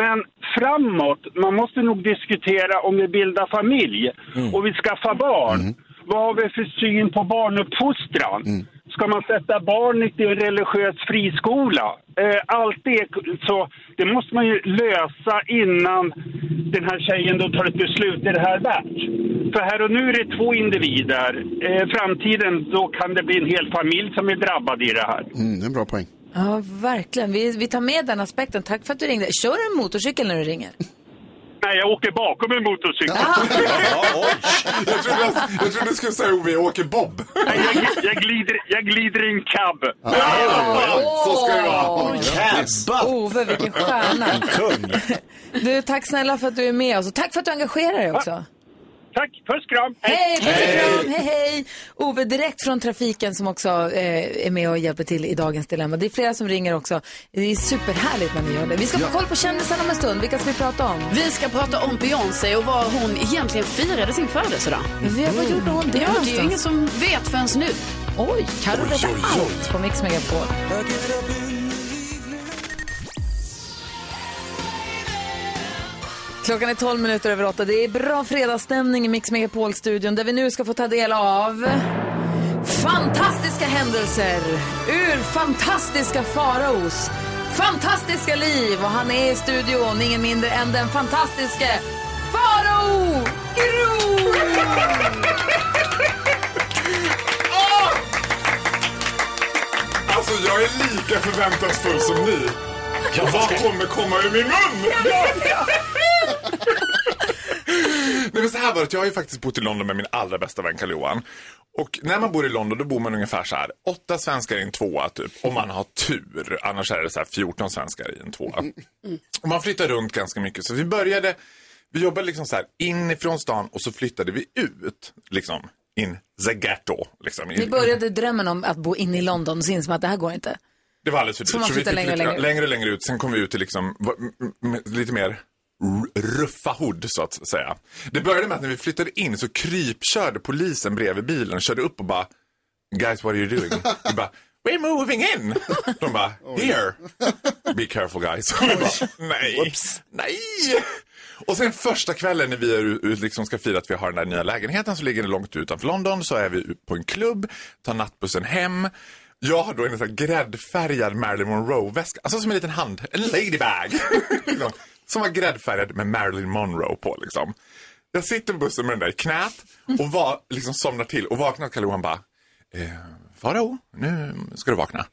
Speaker 11: Men framåt, man måste nog diskutera om vi bildar familj och vi skaffar barn. Vad har vi för syn på barnuppfostran?
Speaker 7: Mm.
Speaker 11: Ska man sätta barnet i en religiös friskola? Eh, allt det, så det måste man ju lösa innan den här tjejen då tar ett beslut. Är det här värt? För här och nu är det två individer. Eh, framtiden, då kan det bli en hel familj som är drabbad i det här.
Speaker 4: Mm, det är en bra poäng.
Speaker 2: Ja, verkligen. Vi, vi tar med den aspekten. Tack för att du ringde. Kör du en motorcykel när du ringer?
Speaker 11: Nej, jag åker bakom en motorcykel.
Speaker 12: Jag trodde, jag, jag trodde du skulle säga Ove, jag åker bob.
Speaker 11: Nej, jag, gl- jag, glider, jag glider i en cab.
Speaker 12: Så ska det
Speaker 2: Åh,
Speaker 3: *laughs*
Speaker 12: vara.
Speaker 2: Cabbat.
Speaker 4: Oh.
Speaker 2: Ove, vilken stjärna.
Speaker 3: Kung.
Speaker 2: *laughs* Du, tack snälla för att du är med oss och tack för att du engagerar dig också.
Speaker 11: Tack, puss kram.
Speaker 2: Hej, puss och
Speaker 11: Hej.
Speaker 2: kram. Hej, hej. Ove, direkt från trafiken som också eh, är med och hjälper till i dagens dilemma. Det är flera som ringer också. Det är superhärligt när ni gör det. Vi ska få koll på kändisarna om en stund. Vilka ska vi prata om?
Speaker 5: Vi ska prata om Beyoncé och var hon egentligen firade sin födelsedag.
Speaker 2: Mm. Vad gjorde hon
Speaker 5: Ja, det är
Speaker 2: det
Speaker 5: ju
Speaker 2: någonstans?
Speaker 5: ingen som vet förrän nu.
Speaker 2: Oj, Carro vet allt på Mix Megapol. Klockan är 12 minuter över 8. Det är bra fredagsstämning i Mix Megapol-studion där vi nu ska få ta del av fantastiska händelser ur fantastiska faraos fantastiska liv. Och han är i studion, ingen mindre än den fantastiske Farao Groth!
Speaker 12: Alltså jag är lika förväntansfull som ni. Vad kommer komma ur min mun? Nej, men så här var det, jag har ju faktiskt bott i London med min allra bästa vän karl johan Och när man bor i London då bor man ungefär så här, åtta svenskar i en tvåa typ. Om man har tur, annars är det så här 14 svenskar i en tvåa. Och man flyttar runt ganska mycket. Så vi började, vi jobbade liksom så här inifrån stan och så flyttade vi ut. Liksom in the ghetto. Liksom,
Speaker 2: Ni
Speaker 12: in,
Speaker 2: började drömmen om att bo inne i London och så insåg man att det här går inte.
Speaker 12: det var alldeles för
Speaker 2: Så man
Speaker 12: dyrt. Så vi
Speaker 2: flyttar
Speaker 12: fick
Speaker 2: längre
Speaker 12: längre,
Speaker 2: och
Speaker 12: längre.
Speaker 2: längre.
Speaker 12: längre och längre ut. Sen kom vi ut till liksom, va- m- m- lite mer r- ruffa hood så att säga. Det började med att när vi flyttade in så krypkörde polisen bredvid bilen, körde upp och bara Guys what are you doing? Vi bara We're moving in! De bara Here! Be careful guys. *laughs* Och vi bara, Nej! Nej! Och sen första kvällen när vi är ut, ut- liksom ska fira att vi har den där nya lägenheten så ligger den långt utanför London. Så är vi ut på en klubb, tar nattbussen hem. Jag har då en sån här gräddfärgad Marilyn Monroe-väska. Alltså som en liten hand, en ladybag. *laughs* liksom, som var gräddfärgad med Marilyn Monroe på liksom. Jag sitter på bussen med den där i knät och var, liksom somnar till och vaknar och Kalle Johan bara eh, Farao, nu ska du vakna.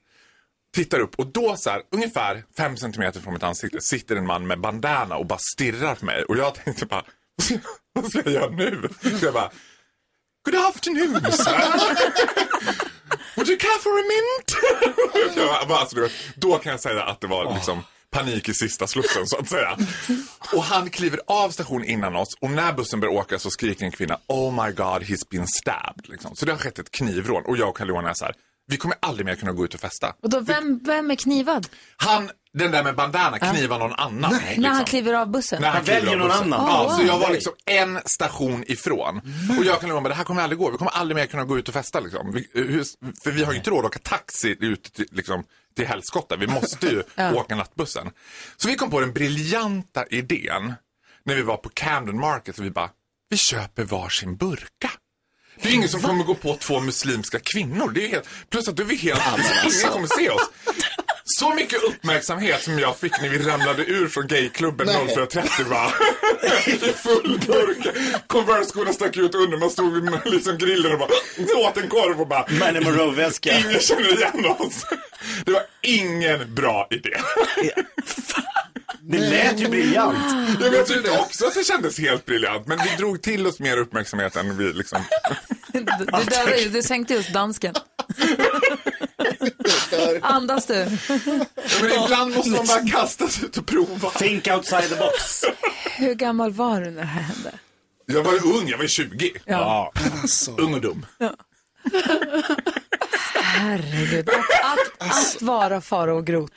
Speaker 12: Tittar upp och då så här, ungefär fem centimeter från mitt ansikte sitter en man med bandana och bara stirrar på mig. Och jag tänkte bara, *laughs* vad ska jag göra nu? Så jag bara, good afternoon sir. Would you care for a mint? *laughs* jag bara, alltså, du vet, då kan jag säga att det var liksom panik i sista slussen så att säga. Och han kliver av station innan oss och när bussen börjar åka så skriker en kvinna Oh my god he's been stabbed. Liksom. Så det har skett ett knivrån och jag och Carl-Johan är så här, vi kommer aldrig mer kunna gå ut och festa.
Speaker 2: Och då, vem, vem är knivad?
Speaker 12: Han, den där med bandana, knivar någon annan.
Speaker 2: När
Speaker 12: liksom.
Speaker 2: han kliver av bussen?
Speaker 12: När han kliver av bussen.
Speaker 2: Åh,
Speaker 12: Ja,
Speaker 2: wow.
Speaker 12: så jag var liksom en station ifrån. Och jag kan lova mig, det här kommer aldrig gå. Vi kommer aldrig mer kunna gå ut och festa liksom. Vi, hur- för vi har ju inte råd att åka taxi ut till, liksom, till helskotta. Vi måste ju
Speaker 7: Ja.
Speaker 12: åka nattbussen. Så vi kom på den briljanta idén när vi var på Camden Market. Och vi bara, vi köper varsin burka. Det är ingen som kommer gå på två muslimska kvinnor. Det är helt, plus att du är helt... *laughs* Ingen kommer se oss. Så mycket uppmärksamhet som jag fick när vi ramlade ur från gayklubben
Speaker 7: Nej.
Speaker 12: 04.30 va? I full burk. Converse-skorna stack ut under. Man stod vid *laughs* liksom grillen och bara åt en korv och bara...
Speaker 3: Man
Speaker 4: *laughs*
Speaker 3: in Monroe-väska.
Speaker 12: Ingen känner igen oss. Det var ingen bra idé.
Speaker 3: Det lät ju briljant.
Speaker 12: Jag vet inte också att det kändes helt briljant. Men vi drog till oss mer uppmärksamhet än vi liksom...
Speaker 2: Det, det, där, är ju- det sänkte just dansken. Andas du?
Speaker 12: Men ibland måste man bara kastas ut och prova.
Speaker 3: Think outside the box.
Speaker 2: Hur gammal var du när det här hände?
Speaker 12: Jag var ju ung, jag var ju 20.
Speaker 2: Ja.
Speaker 12: Ung och dum.
Speaker 2: Herregud. Att, att, att vara Farao Groth.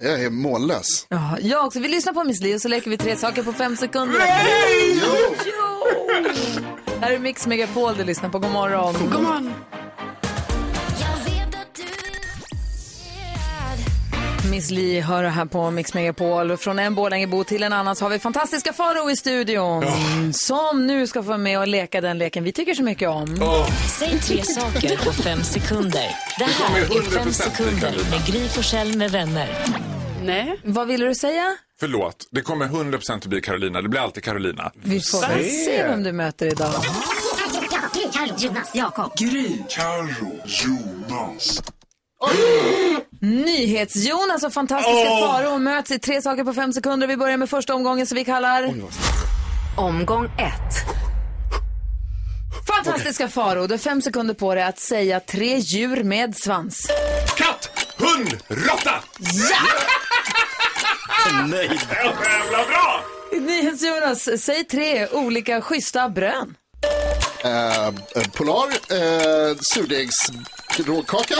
Speaker 4: Jag är mållös.
Speaker 2: Ja, jag också. Vi lyssnar på Miss Li och så leker vi tre saker på fem sekunder.
Speaker 7: Nej!
Speaker 2: Jo! Här är Mix Megapol du lyssnar på. God morgon. God morgon. Miss Li hör här på Mix Megapol. Från en Borlängebo till en annan så har vi fantastiska Farao i studion. Som nu ska få vara med och leka den leken vi tycker så mycket om.
Speaker 15: Säg tre saker på fem sekunder. Det här är fem sekunder med Gry Forssell med vänner.
Speaker 2: Nej. Vad ville du säga?
Speaker 12: Förlåt, det kommer 100% att bli Carolina. Det blir alltid Carolina.
Speaker 2: Vi får väl se vem du möter idag.
Speaker 15: Jonas, Jakob.
Speaker 12: Gry, Carro, Jonas.
Speaker 2: NyhetsJonas och fantastiska
Speaker 7: Åh!
Speaker 2: Farao möts i tre saker på fem sekunder. Vi börjar med första omgången som vi kallar Omgång ett. Fantastiska Farao, du har fem sekunder på dig att säga tre djur med svans.
Speaker 12: Katt, hund, råtta!
Speaker 3: Nöjd.
Speaker 12: Jävla bra!
Speaker 2: NyhetsJonas, säg tre olika schyssta brön.
Speaker 4: Eh, eh, polar, eh, surdegsråkaka.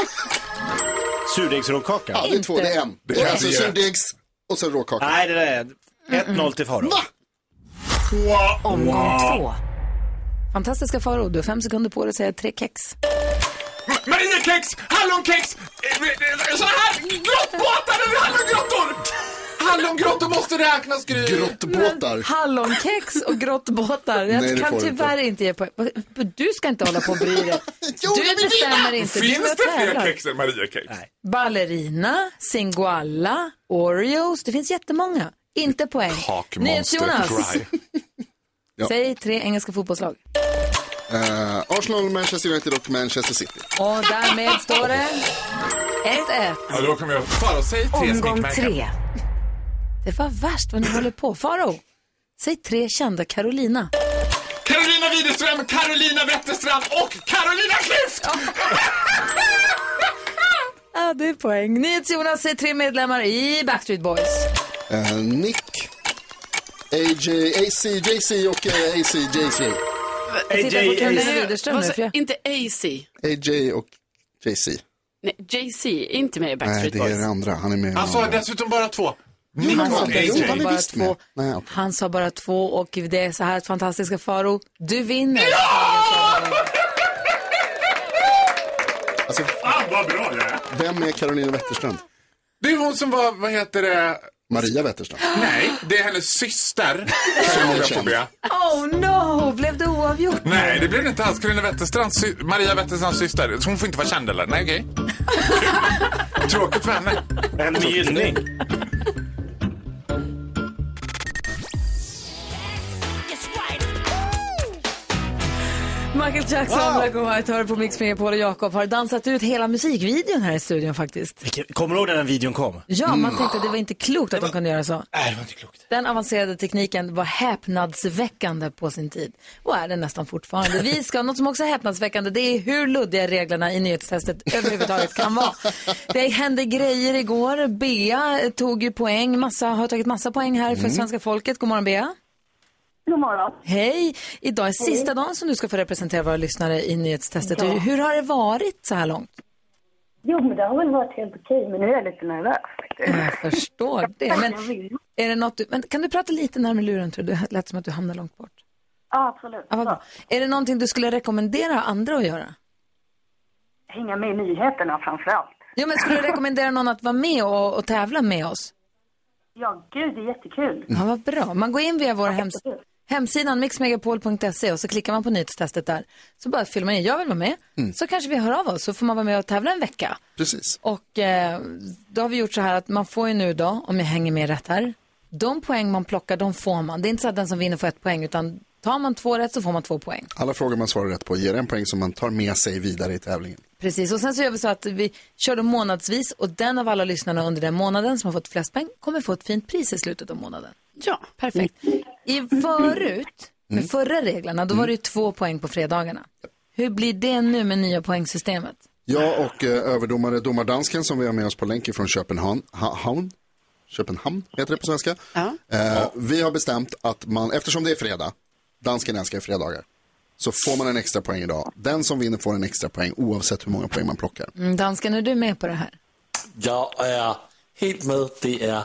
Speaker 3: Surdegsråkaka?
Speaker 4: Ja, det är två, det är en.
Speaker 3: Det
Speaker 4: Det är
Speaker 3: kan
Speaker 4: alltså
Speaker 3: vi göra.
Speaker 4: surdegs och sen råkaka.
Speaker 3: Nej, det där är 1-0 till Farao.
Speaker 2: Omgång
Speaker 3: Wow.
Speaker 2: två. Fantastiska Farao, du har fem sekunder på dig att säga tre kex.
Speaker 12: Ma- Mariekex, hallonkex, eh, eh, såna här grottbåtar eller hallongrottor! Hallongrottor måste räknas, Gry.
Speaker 4: Grottbåtar.
Speaker 2: Hallonkex och grottbåtar. Jag
Speaker 4: Nej, det
Speaker 2: kan
Speaker 4: får du inte.
Speaker 2: tyvärr inte ge poäng. Du ska inte hålla på och bry dig. du bestämmer inte. du
Speaker 12: Finns det fler
Speaker 2: tävlar.
Speaker 12: kex än Mariekex? Nej.
Speaker 2: Ballerina, Singoalla, Oreos. Det finns jättemånga. Inte poäng. NyhetsJonas,
Speaker 4: Ja.
Speaker 2: säg tre engelska fotbollslag.
Speaker 4: Eh, Arsenal, Manchester United och Manchester City.
Speaker 2: Och därmed står det 1-1.
Speaker 12: Ja, då kommer jag... Farao, säg tre
Speaker 2: Omgång
Speaker 12: sminkmärken.
Speaker 2: tre. Det var värst vad ni håller på. Faro, säg tre kända Carolina.
Speaker 12: Carolina Widerström, Carolina Wetterstrand och Carolina Klüft!
Speaker 2: Ja, det är poäng. NyhetsJonas, säg tre medlemmar i Backstreet Boys.
Speaker 4: Eh, Nick, AJ, ACJC och eh, ACJC.
Speaker 5: Nej, nej, vad sa-
Speaker 2: för jag-
Speaker 5: Inte AC.
Speaker 4: AJ och JC.
Speaker 5: Nej, JC är inte med i
Speaker 4: Nej,
Speaker 5: Backstreet
Speaker 4: det är den
Speaker 5: Boys.
Speaker 4: andra. Han är med i den
Speaker 12: Han sa
Speaker 4: andra.
Speaker 12: dessutom bara två.
Speaker 4: Jo, han sa
Speaker 2: och
Speaker 4: det. Jo,
Speaker 2: AJ.
Speaker 4: han är
Speaker 2: Bara
Speaker 4: visst
Speaker 2: två.
Speaker 4: med. Nej, okej.
Speaker 2: Han sa bara två och det är så här fantastiska Faro. Du vinner.
Speaker 4: Alltså,
Speaker 12: Fan vad bra jag är.
Speaker 4: vem är Carolina Wetterstrand?
Speaker 12: Det är hon som var, vad heter det?
Speaker 4: Maria Wetterstrand.
Speaker 12: Nej, det är hennes syster. Som jag får be.
Speaker 2: Oh no, blev det oavgjort?
Speaker 12: Nej, det blev det inte alls. Carolina Wetterstrands, sy- Maria Wetterstrands syster. Hon får inte vara känd eller? Nej, okej.
Speaker 7: *laughs*
Speaker 12: Tråkigt för henne.
Speaker 3: En med gynning.
Speaker 2: Michael Jackson, Black and White, hör på Mix Megapol och Jakob har dansat ut hela musikvideon här i studion faktiskt.
Speaker 3: Kommer du ihåg när den videon kom?
Speaker 2: Ja, man tänkte att Mm. det var inte klokt att de kunde göra så.
Speaker 3: Nej, det var inte klokt.
Speaker 2: Den avancerade tekniken var häpnadsväckande på sin tid och är det nästan fortfarande. Vi ska, något som också är häpnadsväckande, det är hur luddiga reglerna i nyhetstestet överhuvudtaget kan vara. Det hände grejer igår. Bea tog ju poäng, massa, har tagit massa poäng här för
Speaker 16: Mm.
Speaker 2: svenska folket. God morgon Bea.
Speaker 16: God morgon.
Speaker 2: Hej! Idag är sista dagen som du ska få representera våra lyssnare i nyhetstestet.
Speaker 16: Ja.
Speaker 2: Hur- Hur har det varit så här långt?
Speaker 16: Jo, men det har väl varit helt okej, men nu är jag lite nervös. *laughs*
Speaker 2: Jag förstår det. Men, är det något du, men kan du prata lite närmare luren? Tror du? Det lät som att du hamnade långt bort.
Speaker 16: Ja, absolut.
Speaker 2: Ja, vad bra. Är det någonting du skulle rekommendera andra att göra?
Speaker 16: Hänga med i nyheterna framför allt.
Speaker 2: Ja,
Speaker 16: *laughs*
Speaker 2: men skulle du rekommendera någon att vara med och, och tävla med oss?
Speaker 16: Ja, gud, det är jättekul.
Speaker 2: Ja, vad bra. Man går in via vår hems hemsidan mixmegapol.se och så klickar man på nyhetstestet där. Så bara fyller man i, jag vill vara med.
Speaker 4: Mm.
Speaker 2: Så kanske vi hör av oss så får man vara med och tävla en vecka.
Speaker 4: Precis.
Speaker 2: Och eh, då har vi gjort så här att man får ju nu då, om jag hänger med rätt här, de poäng man plockar, de får man. Det är inte så att den som vinner får ett poäng, utan tar man två rätt så får man två poäng.
Speaker 4: Alla frågor man svarar rätt på ger en poäng som man tar med sig vidare i tävlingen.
Speaker 2: Precis, och sen så gör vi så att vi kör dem månadsvis och den av alla lyssnarna under den månaden som har fått flest poäng kommer få ett fint pris i slutet av månaden. Ja, perfekt.
Speaker 5: Mm.
Speaker 2: I förut, med
Speaker 7: Mm.
Speaker 2: förra reglerna, då var det ju två poäng på fredagarna. Hur blir det nu med nya poängsystemet?
Speaker 4: Jag och eh, överdomare domardansken som vi har med oss på länk från Köpenhamn, ha, Haun? Köpenhamn heter det på svenska. Eh, Vi har bestämt att man, eftersom det är fredag, dansken älskar fredagar, så får man en extra poäng idag. Den som vinner får en extra poäng oavsett hur många poäng man plockar.
Speaker 2: Mm, dansken, är du med på det här?
Speaker 6: Jag är helt med. Det är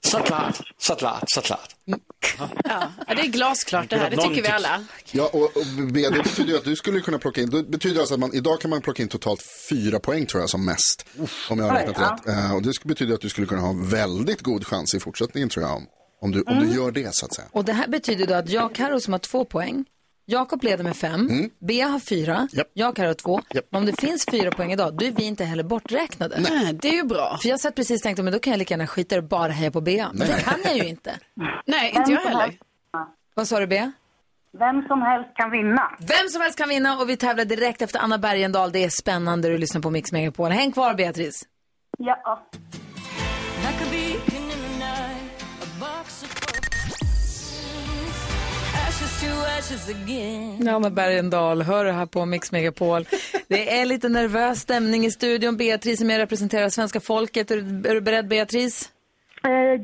Speaker 6: såklart, såklart, såklart.
Speaker 5: Ja, det är glasklart det här, det tycker vi alla.
Speaker 4: Ja, och, och B, det betyder ju att du skulle kunna plocka in, det betyder alltså att man, idag kan man plocka in totalt fyra poäng tror jag som mest. Om jag har
Speaker 16: Oj,
Speaker 4: räknat
Speaker 16: ja.
Speaker 4: rätt. Eh, och det skulle betyda att du skulle kunna ha en väldigt god chans i fortsättningen tror jag. Om, om, du, om
Speaker 16: Mm.
Speaker 4: du gör det så att säga.
Speaker 2: Och det här betyder då att jag och Karo som har två poäng, Jakob leder med fem, Bea har fyra, jag och Karo har två. Men om det finns fyra poäng idag, då är vi inte heller borträknade.
Speaker 5: Nej, det är ju bra.
Speaker 2: För jag satt precis och tänkte, men då kan jag lika gärna skita i det och bara heja på Bea. Men det kan jag ju inte.
Speaker 5: *laughs* Nej, inte jag heller.
Speaker 2: Vad sa du, Bea?
Speaker 16: Vem som helst kan vinna.
Speaker 2: Vem som helst kan vinna och vi tävlar direkt efter Anna Bergendahl. Det är spännande du lyssnar på Mix Megapol. Häng kvar, Beatrice.
Speaker 16: Ja.
Speaker 2: Ja, men Bergendahl, hör du här på Mix Megapol. Det är lite nervös stämning i studion. Beatrice är med och representerar svenska folket. Är du, är du beredd, Beatrice?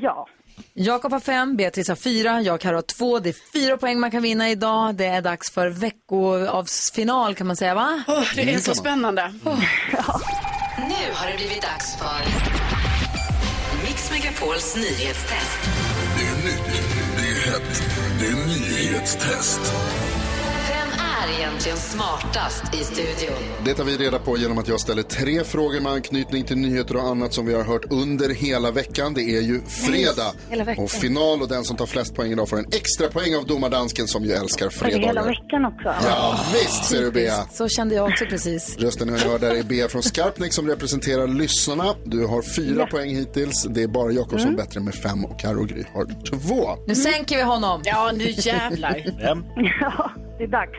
Speaker 16: ja.
Speaker 2: Jakob har fem, Beatrice har fyra, jag och Karo har två. Det är fyra poäng man kan vinna idag. Det är dags för veckoavsfinal kan man säga, va?
Speaker 5: det är Mm, så kan man. spännande.
Speaker 10: Nu har det blivit dags för Mix Megapols nyhetstest.
Speaker 7: Det är nytt, det är hett, det är nyhetstest.
Speaker 10: Vem är egentligen smartast i studion?
Speaker 4: Det tar vi reda på genom att jag ställer tre frågor med anknytning till nyheter och annat som vi har hört under hela veckan. Det är ju fredag
Speaker 16: hela veckan.
Speaker 4: och final och den som tar flest poäng idag får en extra poäng av domardansken som ju älskar
Speaker 16: För hela
Speaker 4: fredagar.
Speaker 16: veckan också.
Speaker 4: Ja, visst ser du Bea.
Speaker 2: Så kände jag också precis.
Speaker 4: Rösten jag hör där är Bea från Skarpnäck som representerar lyssnarna. Du har fyra poäng hittills. Det är bara Jakob som är bättre med fem och Karo Gry har två.
Speaker 2: Nu sänker vi honom.
Speaker 5: Ja, nu jävlar.
Speaker 16: Ja, det är dags.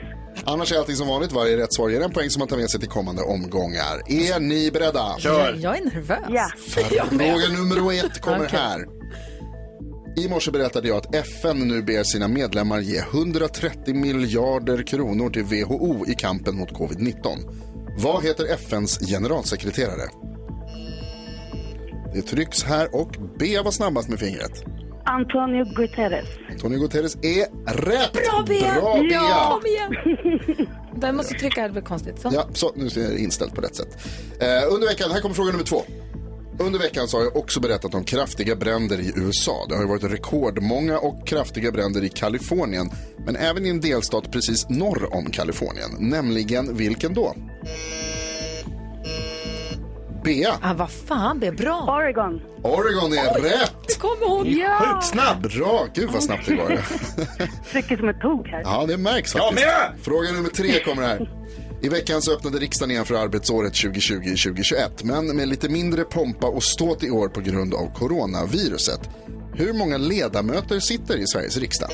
Speaker 4: Annars är allting som vanligt. Varje rätt svar ger en poäng som man tar med sig till kommande omgångar. Är ni beredda?
Speaker 2: Jag är nervös.
Speaker 4: Fråga nummer ett kommer
Speaker 2: Okej.
Speaker 4: här. I morse berättade jag att FN nu ber sina medlemmar ge 130 miljarder kronor till WHO i kampen mot covid-19. Vad heter FNs generalsekreterare? Det trycks här och B var snabbast med fingret.
Speaker 16: Antonio Guterres.
Speaker 4: Tony Guterres är rätt!
Speaker 2: Bra Bea!
Speaker 4: Bra, Bea!
Speaker 2: Ja, kom igen. Där måste jag trycka, det blir konstigt. Så.
Speaker 4: Ja, så nu är det inställt på rätt sätt. Eh, under veckan, här kommer fråga nummer två. Under veckan så har jag också berättat om kraftiga bränder i USA. Det har ju varit rekordmånga och kraftiga bränder i Kalifornien, men även i en delstat precis norr om Kalifornien, nämligen vilken då? Bea.
Speaker 2: Ah, vad fan, Bea, bra.
Speaker 16: Oregon.
Speaker 4: Oregon är rätt!
Speaker 2: Det kommer hon.
Speaker 16: Ja.
Speaker 4: snabb! Bra, gud vad snabbt
Speaker 16: *laughs*
Speaker 4: det går.
Speaker 16: Trycker som ett tog här.
Speaker 4: Ja, det märks faktiskt. Fråga nummer tre kommer här. I veckan så öppnade riksdagen igen för arbetsåret 2020-2021, men med lite mindre pompa och ståt i år på grund av coronaviruset. Hur många *laughs* ledamöter sitter i Sveriges riksdag?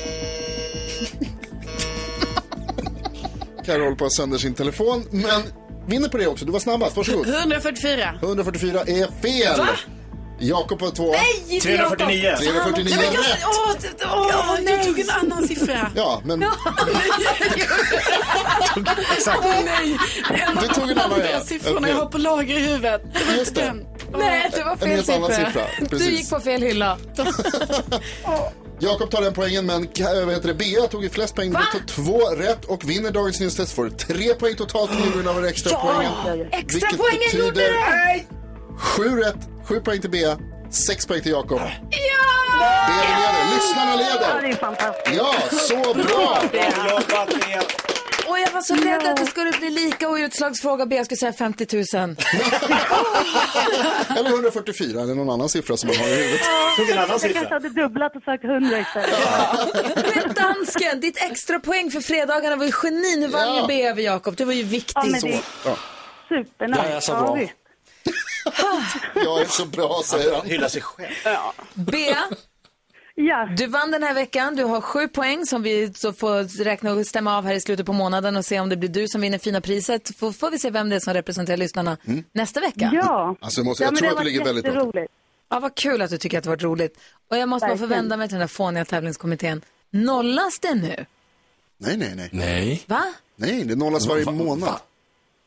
Speaker 4: Carro håller på att sönder sin telefon, men vinner på det också. Du var snabbast, varsågod.
Speaker 5: 144.
Speaker 4: 144 är fel.
Speaker 5: Va?
Speaker 4: Jakob var två.
Speaker 5: Nej,
Speaker 7: 349.
Speaker 5: Jakob.
Speaker 4: 349
Speaker 5: Nej, men jag,
Speaker 4: rätt.
Speaker 5: åh, det- åh, jag tog en annan siffra.
Speaker 4: Ja, men...
Speaker 7: Exakt.
Speaker 5: Åh, nej, en
Speaker 7: Du
Speaker 5: av
Speaker 7: tog en
Speaker 5: de
Speaker 7: annan,
Speaker 5: andra
Speaker 7: ja.
Speaker 5: siffrorna
Speaker 7: Okej.
Speaker 5: jag har på lager i huvudet. Det var inte den.
Speaker 2: Nej, det var
Speaker 4: En
Speaker 2: fel
Speaker 4: helt annan
Speaker 2: siffra.
Speaker 4: siffra,
Speaker 2: Du
Speaker 4: precis.
Speaker 2: gick på fel hylla.
Speaker 4: *laughs* Jakob tar den poängen, men Ka- vad heter det? Bea tog ju flest poäng. Du tog två rätt och vinner dagens nyhetstest. Får tre poäng totalt på grund av den extra
Speaker 7: Ja,
Speaker 4: poängen.
Speaker 7: extra
Speaker 4: Vilket
Speaker 7: poängen
Speaker 4: betyder
Speaker 7: gjorde det!
Speaker 4: Sju rätt, sju poäng till Bea, sex poäng till Jakob.
Speaker 7: Ja!
Speaker 4: Bea leder, lyssnarna
Speaker 7: Ja, det
Speaker 4: leder.
Speaker 7: är fantastiskt.
Speaker 4: Ja, så bra!
Speaker 7: *laughs* Bra jobbat,
Speaker 2: Och jag var så rädd att det skulle bli lika och i utslagsfråga B jag skulle säga 50 000.
Speaker 4: Eller 144, eller någon annan siffra som man har i *laughs* huvudet.
Speaker 16: Jag kanske hade dubblat och sagt 100 istället.
Speaker 2: Men dansken, ditt extra poäng för fredagarna var ju genin. Nu vann
Speaker 16: Ja.
Speaker 2: ju B över Jakob. Det var ju viktigt.
Speaker 16: Ja, men det-
Speaker 4: Ja.
Speaker 16: Supernice.
Speaker 4: Jag är så bra.
Speaker 16: visst.
Speaker 4: Jag är så bra, säger han.
Speaker 3: Hyllar sig själv.
Speaker 2: Bea, du vann den här veckan. Du har sju poäng som vi så får räkna och stämma av här i slutet på månaden och se om det blir du som vinner fina priset. Får, får vi se vem det är som representerar lyssnarna
Speaker 4: Mm.
Speaker 2: nästa vecka?
Speaker 16: Ja.
Speaker 4: Alltså, jag måste- jag Ja, men tror det att det har ligger varit väldigt lågt. jätteroligt.
Speaker 2: Ja, vad kul att du tycker att det har varit roligt. Och jag måste bara få
Speaker 16: Verkligen.
Speaker 2: vända mig till den här fåniga tävlingskommittén. Nollas det nu?
Speaker 4: Nej, nej, nej.
Speaker 6: Nej.
Speaker 2: Va?
Speaker 4: Nej, det nollas varje månad.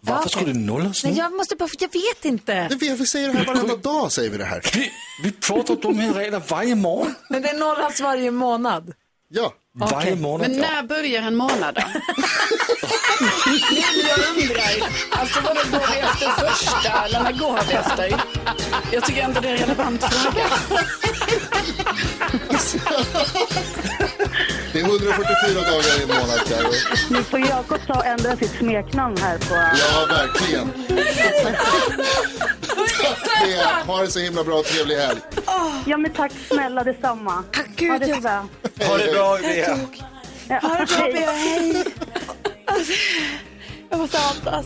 Speaker 2: Varför Ja. skulle
Speaker 6: det nollas
Speaker 2: Nej, jag måste bara, för jag vet inte.
Speaker 4: Det vet, vi säger det här varenda
Speaker 17: *laughs*
Speaker 4: dag, säger vi det här.
Speaker 6: Vi, vi pratar om de här reglerna varje morgon.
Speaker 2: Men det nollas varje månad.
Speaker 4: Ja.
Speaker 6: Varje månad.
Speaker 5: Men
Speaker 6: ja.
Speaker 5: när börjar en månad då? Det är det jag undrar. Alltså vadå, går vi efter första eller när går vi efter? Jag tycker inte det är en relevant fråga.
Speaker 4: Det är 144 dagar i en månad, Carro.
Speaker 16: Nu får Jakob ta och ändra sitt smeknamn här på...
Speaker 4: Ja, *laughs* verkligen. Bea, ha det så himla bra och trevlig helg.
Speaker 16: Ja, men tack snälla detsamma. Tack
Speaker 2: gud.
Speaker 16: Ha det så bra.
Speaker 4: Ha det bra,
Speaker 16: Bea. Ja,
Speaker 7: Ha det bra,
Speaker 16: hej.
Speaker 7: Bea. Hej.
Speaker 16: Jag måste andas.